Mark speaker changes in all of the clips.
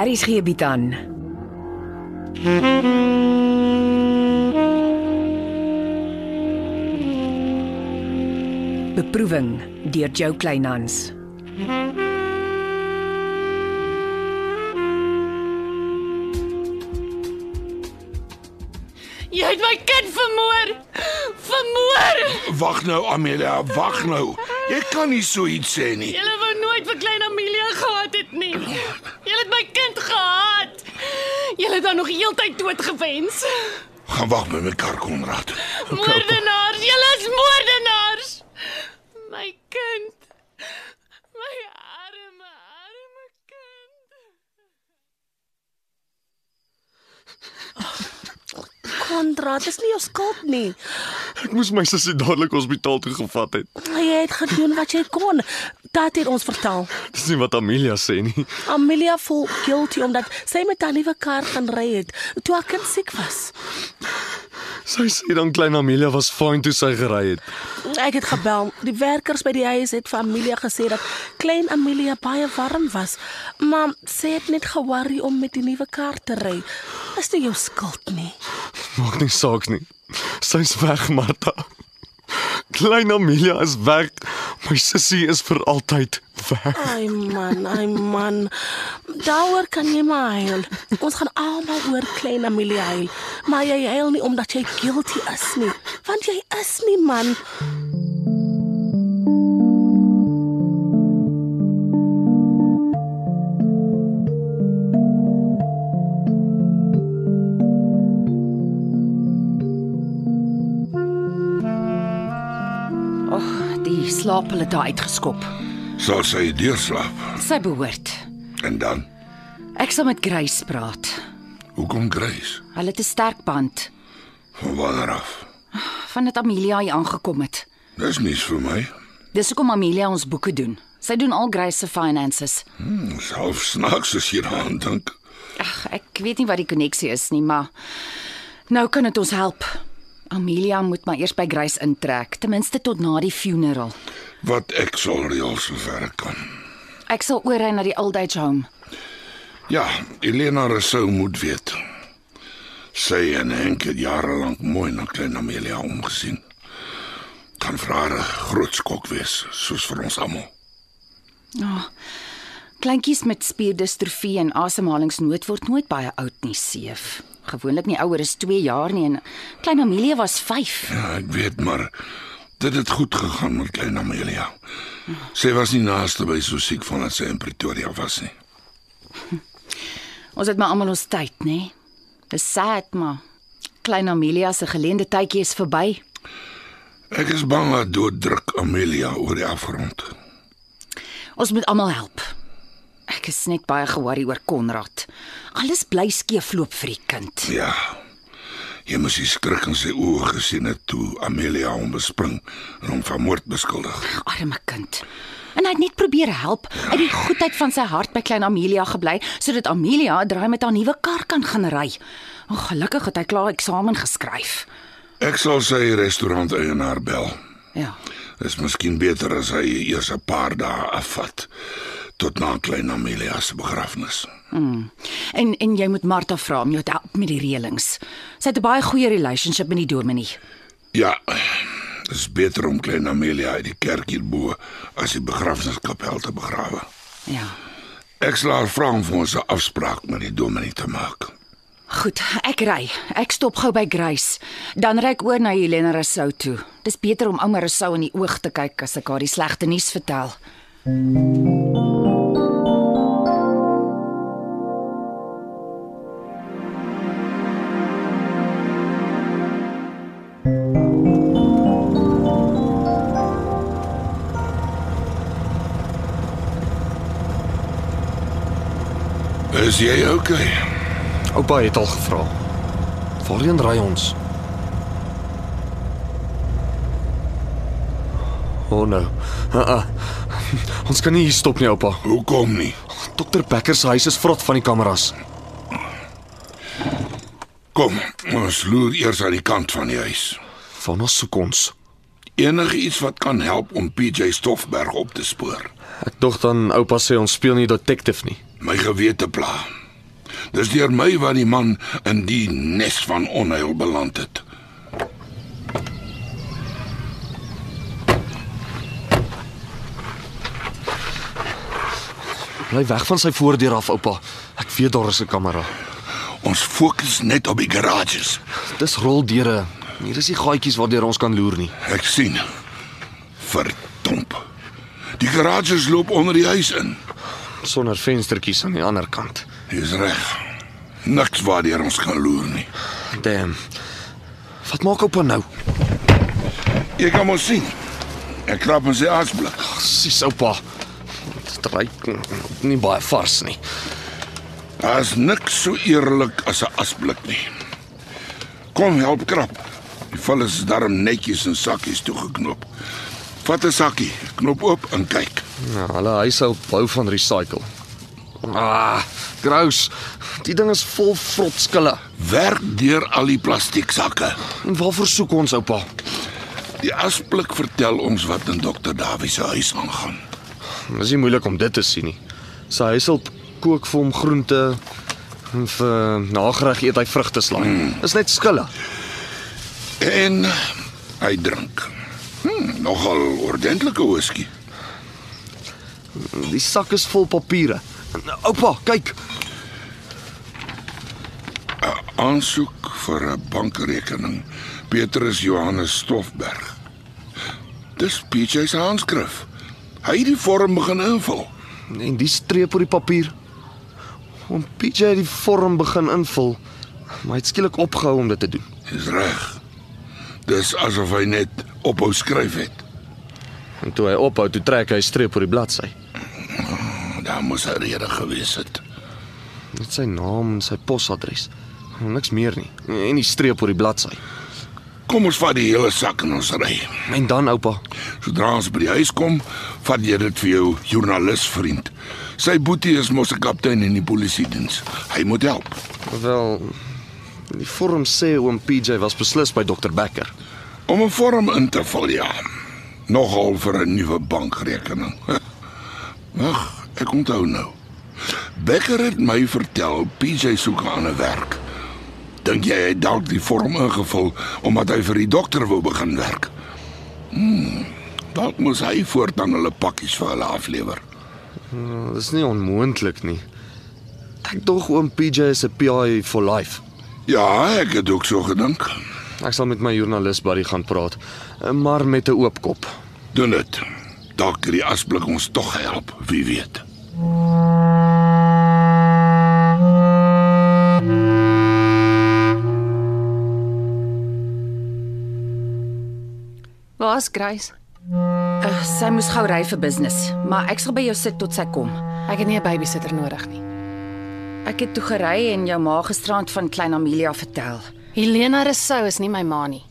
Speaker 1: Aries gee bied aan. Beproeving deur Jo Kleinhans.
Speaker 2: Jy het my kind vermoor. Vermoor.
Speaker 3: Wag nou Amelia, wag nou. Jy kan nie so iets sê nie.
Speaker 2: Julle wou nooit vir klein Amelia gehad het nie. Julle het my kind gehaat. Julle het haar nog heeltyd dood gewens.
Speaker 3: Gaan wag by my kar Konrad.
Speaker 2: Moordenaars, julle is moordenaars. My kind. My arme, arme kind.
Speaker 4: Konrad, dis nie jou skuld nie.
Speaker 5: Ek moes my sussie dadelik hospitaal toe gevat het.
Speaker 4: Jy het gedoen wat jy kon. Dit het ons vertel.
Speaker 5: Dis nie wat Amelia sê nie.
Speaker 4: Amelia voel guilty omdat sy met haar liewe kar gaan ry het toe haar kind siek was.
Speaker 5: Sy sê dan klein Amelia was fyn toe sy gery het.
Speaker 4: Ek het gebel. Die werkers by die huis het vir Amelia gesê dat klein Amelia baie warm was, maar sy het net ge-worry om met die nuwe kar te ry. Is nie jou skuld nie.
Speaker 5: Maak nie saak nie. Sy's weg, Martha. Klein Amelia is weg. My sussie is vir altyd weg.
Speaker 4: Ai man, ai man. Daaroor kan jy maar huil. Ons gaan almal oor klein Amelia huil, maar jy huil nie omdat jy guilty is nie, want jy is nie man.
Speaker 1: Och, die slaap hulle daai uitgeskop.
Speaker 3: Sal sy deurslaap.
Speaker 1: Sy behoort.
Speaker 3: En dan,
Speaker 1: Ek sal met Grace praat.
Speaker 3: hoekom Grace?
Speaker 1: Hulle het 'n sterk band
Speaker 3: Van wanneer af?
Speaker 1: van dit Amelia hier aangekom het.
Speaker 3: Dis nuus vir my.
Speaker 1: Dis hoekom Amelia ons boeke doen. Sy doen al Grace se finances.
Speaker 3: Hmm, Self snaaks as jy daaraan dink.
Speaker 1: Ag, ek weet nie wat die koneksie is nie, maar nou kan dit ons help. Amelia moet maar eers by Grace intrek, ten minste tot na die funeral.
Speaker 3: Wat ek sal reël sover ek kan.
Speaker 1: Ek sal oorry na die old age home.
Speaker 3: Ja, Elena Rousseau moet weet. Sy en Henk het jare lank mooi na klein Amelia omgesien. Kan vir haar 'n groot skok wees, soos vir ons almal.
Speaker 1: Kleintjies met spierdistrofie en asemhalingsnood word nooit baie oud nie, seef. Gewoonlik nie ouer as 2 jaar nie en klein Amelia was 5.
Speaker 3: Ja, ek weet maar dit het goed gegaan met klein Amelia. Sy was nie naaste by so siek van as sy in Pretoria was nie.
Speaker 1: Ons het maar almal ons tyd, nê? Dis sad, maar klein Amelia se geleende tydjie is verby.
Speaker 3: Ek is bang haar dood druk Amelia oor die afgrond.
Speaker 1: Ons moet almal help. Ek is net baie ge-worry oor Konrad. Alles bly skeefloop vir die kind.
Speaker 3: Ja. Jy moes die skrik in sy oë gesien het toe Amelia hom bespring en hom van moord beskuldig.
Speaker 1: Arme kind. En hy het net probeer help uit die goedheid van sy hart by klein Amelia gebly sodat Amelia 'n draai met haar nuwe kar kan gaan ry. Ongelukkig het hy klaar eksamen geskryf.
Speaker 3: Ek sal sy restaurant eienaar bel.
Speaker 1: Ja.
Speaker 3: Is miskien beter as hy eers 'n paar dae afvat tot na klein Amelia se begrafnis.
Speaker 1: Hmm. En en jy moet Martha vra om jou te help met die reëlings. Sy het 'n baie goeie relationship met die dominee.
Speaker 3: Ja. Dis beter om klein Amelia uit die kerk hierbo as die begrafniskapel te begrawe.
Speaker 1: Ja.
Speaker 3: Ek sal haar vra om vir ons 'n afspraak met die dominee te maak.
Speaker 1: Goed, ek ry. Ek stop gou by Grace. Dan ry ek oor na Helena Rousseau toe. Dis beter om ouma Rousseau in die oog te kyk as ek haar die slegte nuus vertel.
Speaker 3: Is jy okay?
Speaker 5: Oupa het al gevra. Waarheen ry ons? O oh, nee. Uh -uh. Ons kan nie hier stop nie, oupa.
Speaker 3: Hoekom nie?
Speaker 5: Dokter Becker se huis is vrot van die kameras.
Speaker 3: Kom, ons loer eers aan die kant van die huis.
Speaker 5: Van ons soek ons.
Speaker 3: Enige iets wat kan help om PJ Stoffberg op te spoor.
Speaker 5: Ek dog dan oupa sê ons speel nie detective nie.
Speaker 3: My gewete pla. Dis deur my wat die man in die nes van onheil beland het.
Speaker 5: Bly weg van sy voordeur af, oupa. Ek weet daar is 'n kamera.
Speaker 3: Ons fokus net op die garages.
Speaker 5: Dis roldeure. Hier is nie gaatjies waardeur ons kan loer nie.
Speaker 3: Ek sien. Verdomp. Die garages loop onder die huis in.
Speaker 5: Sonder venstertjies aan die ander kant.
Speaker 3: Dis reg. Niks waardeur ons kan loer nie.
Speaker 5: Damn. Wat maak oupa nou?
Speaker 3: Jy kan mos sien. Ek klap in sy asblik.
Speaker 5: Sis oupa. Dit reik nie baie vars nie.
Speaker 3: Daar's niks so eerlik as 'n asblik nie. Kom help krap. Die vel is darm netjies in sakkies toegeknoop. Vat 'n sakkie, knop oop en kyk.
Speaker 5: Ja, hulle huishou bou van recycle. Ah, gross. Die ding is vol vrotskille.
Speaker 3: Werk deur al die plastieksakke.
Speaker 5: En waarvoor soek ons oupa?
Speaker 3: Die asblik vertel ons wat in dokter Davies se huis aangaan.
Speaker 5: Dis nie moeilik om dit te sien nie. Sy huishulp kook vir hom groente en vir nagereg eet hy vrugteslaai. Mm. Is net skille.
Speaker 3: En hy drink. Hm, nogal ordentlike whisky.
Speaker 5: Die sak is vol papiere. Nou, Oupa, kyk.
Speaker 3: Aansoek vir 'n bankrekening. Petrus Johannes Stoffberg. Dis PJ se handskrif. Hy het die vorm begin invul.
Speaker 5: En die streep op die papier. Om PJ het die vorm begin invul, maar hy het skielik opgehou om dit te doen.
Speaker 3: Dis reg. Dis asof hy net ophou skryf het.
Speaker 5: En toe hy ophou, toe trek hy 'n streep op die bladsy.
Speaker 3: Daar moes 'n rede gewees het.
Speaker 5: Net sy naam en sy posadres. Niks meer nie. En die streep op die bladsy.
Speaker 3: Kom ons vat die hele sak en ons ry.
Speaker 5: En dan oupa,
Speaker 3: Sodra ons by die huis kom, vat jy dit vir jou joernalis vriend. Sy boetie is mos 'n kaptein in die polisie diens. Hy moet help.
Speaker 5: wel die vorm sê oom PJ was beslis by dokter Becker.
Speaker 3: Om 'n vorm in te vul, ja. Nogal vir 'n nuwe bankrekening. Wag, ek onthou nou. Becker het my vertel PJ soek aan 'n werk. Dink jy hy het dalk die vorm ingevul omdat hy vir die dokter wou begin werk? Hmm, dalk moes hy voortaan hulle pakkies vir hulle aflewer.
Speaker 5: Dis nie onmoontlik nie. Ek dog oom PJ is 'n PI for life.
Speaker 3: Ja, ek het ook so gedink.
Speaker 5: Ek sal met my joernalis buddy gaan praat, maar met 'n oop kop.
Speaker 3: Doen dit. Dalk kan die asblik ons tog help, wie weet.
Speaker 2: Waar's Grace?
Speaker 1: Uh, sy moes gou ry vir business, maar ek sal by jou sit tot sy kom.
Speaker 2: Ek het nie 'n babysitter nodig nie.
Speaker 1: Ek het toe gery en jou ma gisterand van klein Amelia vertel.
Speaker 2: Helena Rousseau is nie my ma nie.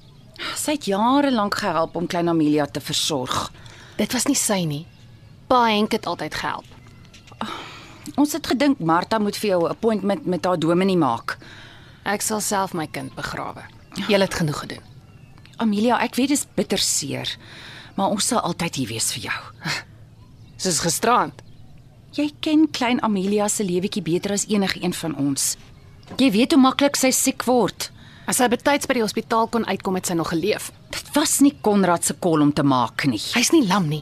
Speaker 1: Sy het jare lank gehelp om klein Amelia te versorg.
Speaker 2: Dit was nie sy nie. Pa Henk het altyd gehelp.
Speaker 1: Ons het gedink Martha moet vir jou 'n appointment met haar dominee maak.
Speaker 2: Ek sal self my kind begrawe. Jy het genoeg gedoen.
Speaker 1: Amelia, ek weet dit is bitterseer, maar ons sal altyd hier wees vir jou.
Speaker 2: Soos gisterand.
Speaker 1: Jy ken klein Amelia se lewetjie beter as enigiemand van ons. Jy weet hoe maklik sy siek word.
Speaker 2: As sy betyds by die hospitaal kon uitkom het sy nog geleef.
Speaker 1: Dit was nie Konrad se kol om te maak nie.
Speaker 2: Hy's nie lam nie.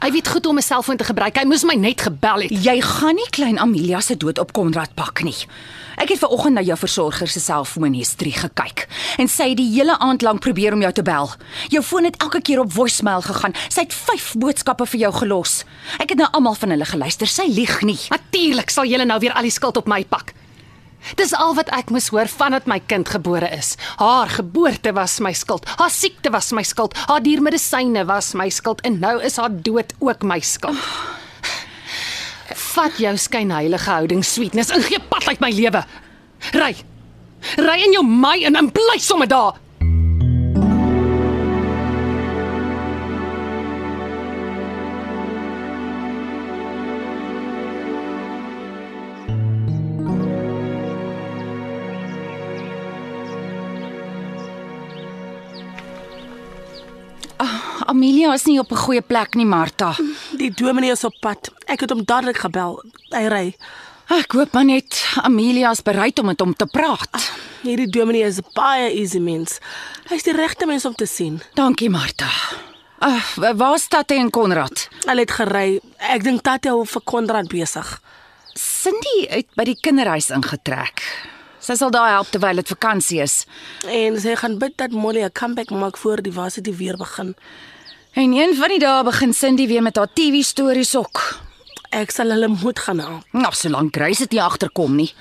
Speaker 2: Hy weet goed hoe om 'n selfoon te gebruik. Hy moes my net gebel het.
Speaker 1: Jy gaan nie klein Amelia se dood op Konrad pak nie. Ek het ver oggend na jou versorger se selfoonhistorie gekyk en sy het die hele aand lank probeer om jou te bel. Jou foon het elke keer op voicemail gegaan. Sy het 5 boodskappe vir jou gelos. Ek het na almal van hulle geluister. Sy lieg nie.
Speaker 2: Natuurlik sal julle nou weer al die skuld op my pak. Dis al wat ek moes hoor vandat my kind gebore is. Haar geboorte was my skuld. Haar siekte was my skuld. Haar diermedisyne was my skuld en nou is haar dood ook my skuld. Vat jou skynheilige houding sweetness en gee pad uit my lewe. Ry. Ry in jou my en en bly sommer daar.
Speaker 1: Amelia is nie op 'n goeie plek nie, Martha.
Speaker 4: Die dominee is op pad. Ek het hom dadelik gebel. Hy ry.
Speaker 1: Ek hoop maar net Amelia is bereid om met hom te praat.
Speaker 4: Hierdie dominee is baie easy mens. Hy's die regte mens om te sien.
Speaker 1: Dankie Martha. Uh, wa- waar is Tatte en Konrad?
Speaker 4: Hy het gery. Ek dink Tatie hou vir Konrad besig.
Speaker 1: Cindy uit by die kinderhuis ingetrek. Sy sal daar help terwyl dit vakansie is.
Speaker 4: En sy gaan bid dat Molly 'n comeback maak voor die varsity weer begin.
Speaker 1: En een van die dae begin Cindy weer met haar TV-stories ook.
Speaker 4: Ek sal hulle moed gaan help.
Speaker 1: Nou, solank Grace dit nie agterkom nie.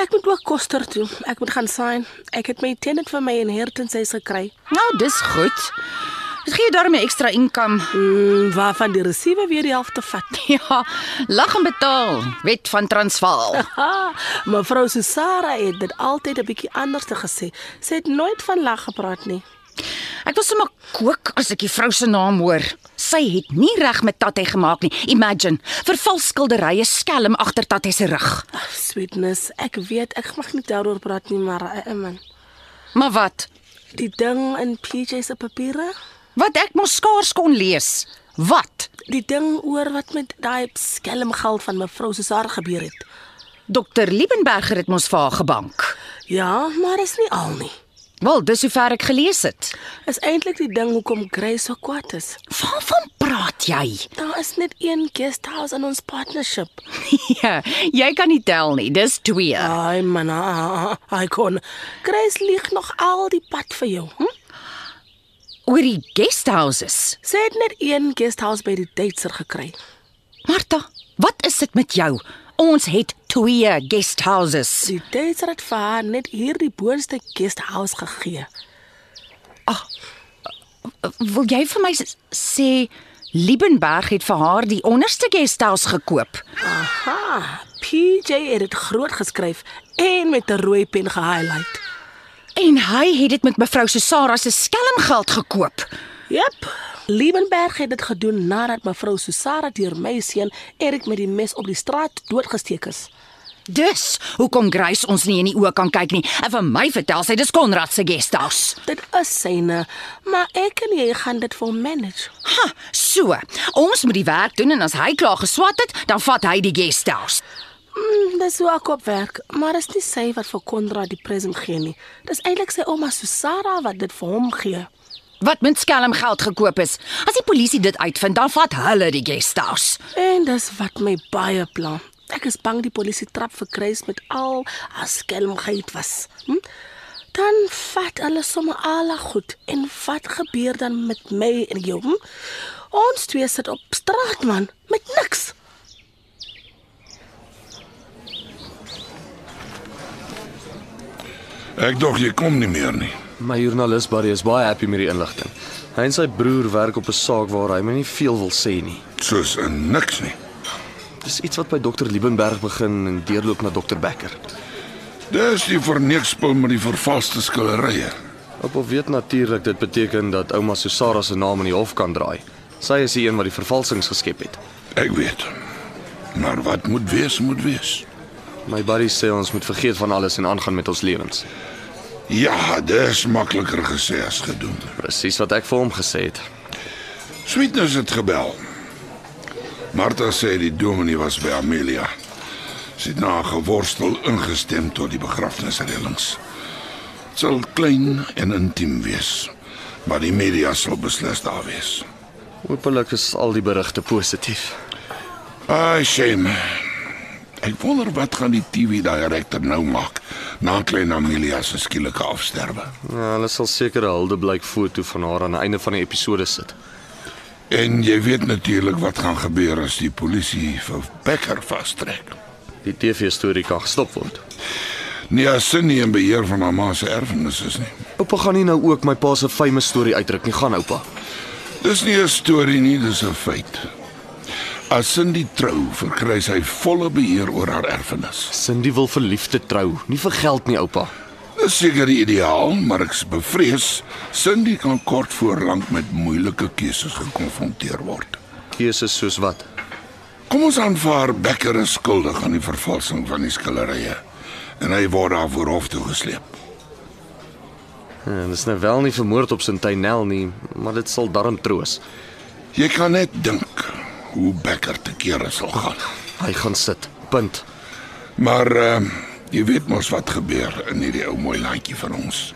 Speaker 4: Ek moet ook koster toe. Ek moet gaan sign. Ek het my tenant vir my inheritance huis gekry.
Speaker 1: Nou, dis goed. Dit gee daarmee ekstra inkom.
Speaker 4: Mm, waarvan die resiewe weer die helfte vat.
Speaker 1: Ja, lag en betaal. Wet van Transvaal.
Speaker 4: Ha, mevrou Susara het dit altyd 'n bietjie anders te gesê. Sy het nooit van lag gepraat nie.
Speaker 1: Ek wil sommer kook as ek die vrou se naam hoor. Sy het nie reg met Tatte gemaak nie. Imagine, vervals skilderye skelm agter Tatte se rug.
Speaker 4: Ag, sweetness. Ek weet ek mag nie daaroor praat nie, maar eh, man,
Speaker 1: Maar wat?
Speaker 4: die ding in PJ se papiere,
Speaker 1: Wat ek mos skaars kon lees. Wat?
Speaker 4: die ding oor wat met daai skelmgeld van mevrou Susar gebeur het.
Speaker 1: Dokter Liebenberger het mos vir haar gebank.
Speaker 4: Ja, maar is nie al nie.
Speaker 1: Wel, dis hoe ver ek gelees het.
Speaker 4: Is eintlik die ding hoekom Grace so kwaad is.
Speaker 1: Waarvan praat jy?
Speaker 4: Daar is net een guest house in ons partnership.
Speaker 1: ja, jy kan nie tel nie. Dis 2.
Speaker 4: Ai man, ah, ah, hy kon. Grace lieg nog al die pad vir jou. Hm?
Speaker 1: Oor die guesthouses.
Speaker 4: Sy het net een guest house by die Duitser gekry.
Speaker 1: Martha, wat is dit met jou? Ons het 2 guesthouses.
Speaker 4: Die Duitser het vir haar net hierdie boonste guest house gegee.
Speaker 1: Wil jy vir my s- sê Liebenberg het vir haar die onderste guesthouse gekoop?
Speaker 4: Aha, PJ het dit groot geskryf en met 'n rooi pen gehighlight.
Speaker 1: En hy het dit met mevrou Susara se skelmgeld gekoop.
Speaker 4: Jep. Liebenberg het dit gedoen nadat mevrou Susara deur my seun Erik met die mes op die straat doodgesteek is.
Speaker 1: Dus hoekom Grace ons nie in die oë kan kyk nie. En vir my vertel sy dis Konrad se guesthouse.
Speaker 4: Dit is syne, maar ek en jy gaan dit vir hom manage.
Speaker 1: Ha, so. Ons moet die werk doen en as hy klaar geswat het, dan vat hy die guesthouse.
Speaker 4: Mm, dis hoe ek op werk, maar is nie sy wat vir Konrad die present gee nie. Dis eintlik sy ouma Susara wat dit vir hom gee.
Speaker 1: Wat met skelmgeld gekoop is. As die polisie dit uitvind, dan vat hulle die guesthouse.
Speaker 4: En dis wat my baie pla. Ek is bang die polisie trap vir Grace met al haar skelmheid was. Hm? Dan vat hulle sommer al haar goed en wat gebeur dan met my en jou? Hm? Ons twee sit op straat man met niks.
Speaker 3: Ek dog jy kom nie meer nie.
Speaker 5: My joernalis Barry is baie happy met die inligting. Hy en sy broer werk op 'n saak waar hy my nie veel wil sê nie.
Speaker 3: Soos in niks nie.
Speaker 5: Dis iets wat by dokter Liebenberg begin en deurloop na dokter Becker.
Speaker 3: Dis die verneekspil met die vervalste skilderye.
Speaker 5: Oupa weet natuurlik dit beteken dat ouma Susara se naam in die hof kan draai. Sy is die een wat die vervalsings geskep het.
Speaker 3: Ek weet. Maar wat moet wees, moet wees.
Speaker 5: My buddy sê ons moet vergeet van alles en aangaan met ons lewens.
Speaker 3: Ja, dis makliker gesê as gedoen.
Speaker 5: Presies wat ek vir hom gesê het.
Speaker 3: Sweetness het gebel. Martha sê die dominee was by Amelia. Sy het na haar geworstel ingestem tot die begrafnisreëlings. Het Sal klein en intiem wees, maar die media sal beslis daar wees.
Speaker 5: Hoopelik is al die berigte positief.
Speaker 3: Ah, shame. Ek wonder wat gaan die TV-direkteur nou maak na klein Amelia se skielike afsterwe.
Speaker 5: Ja, hulle sal seker 'n huldeblyk foto van haar aan die einde van die episode sit.
Speaker 3: En jy weet natuurlik wat gaan gebeur as die polisie vir Becker vastrek.
Speaker 5: Die TV-storie kan gestop word.
Speaker 3: Nee, as sy nie in beheer van haar ma se erfenis is nie.
Speaker 5: Oupa gaan nie nou ook my pa se fame storie uitdruk nie, gaan oupa.
Speaker 3: Dis nie 'n storie nie, dis 'n feit. As Cindy trou, verkry sy volle beheer oor haar erfenis.
Speaker 5: Cindy wil verliefde trou, nie vir geld nie, oupa.
Speaker 3: Dis seker die ideaal, maar ek is bevrees Cindy kan kort voor lank met moeilike keuses gekonfronteer word.
Speaker 5: Keuses soos wat? Ja,
Speaker 3: Kom ons aanvaar Becker is skuldig aan die vervalsing van die skilderye en hy word daar voor hof toe gesleep.
Speaker 5: Ja, dis nou wel nie vermoord op Sintynel nie, maar dit sal darm troos.
Speaker 3: Jy kan net dink hoe Becker te kere sal gaan.
Speaker 5: Hy gaan sit. Punt.
Speaker 3: Maar ehm jy weet mos wat gebeur in hierdie ou mooi landjie van ons.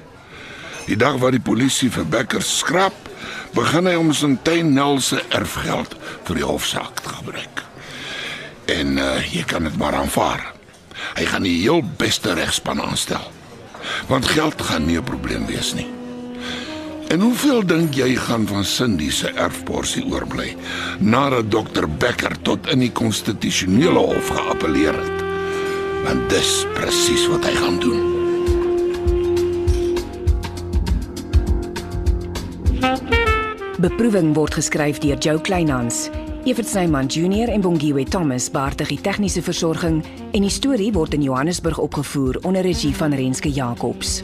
Speaker 3: Die dag wat die polisie vir Becker skrap, begin hy om Sintyn Nel se erfgeld vir die hofsaak te gebruik. En uh, jy kan dit maar aanvaar. Hy gaan die heel beste regspan aanstel. Want geld gaan nie 'n probleem wees nie. En hoeveel dink jy gaan van Cindy se erfporsie oorbly nadat dokter Becker tot in die konstitusionele hof geappeleer het? Want dis presies wat hy gaan doen.
Speaker 1: Beproeving word geskryf deur Jo Kleinhans. Evert Snyman Junior en Bongwe Thomas baartig die tegniese versorging en die storie word in Johannesburg opgevoer onder regie van Renske Jacobs.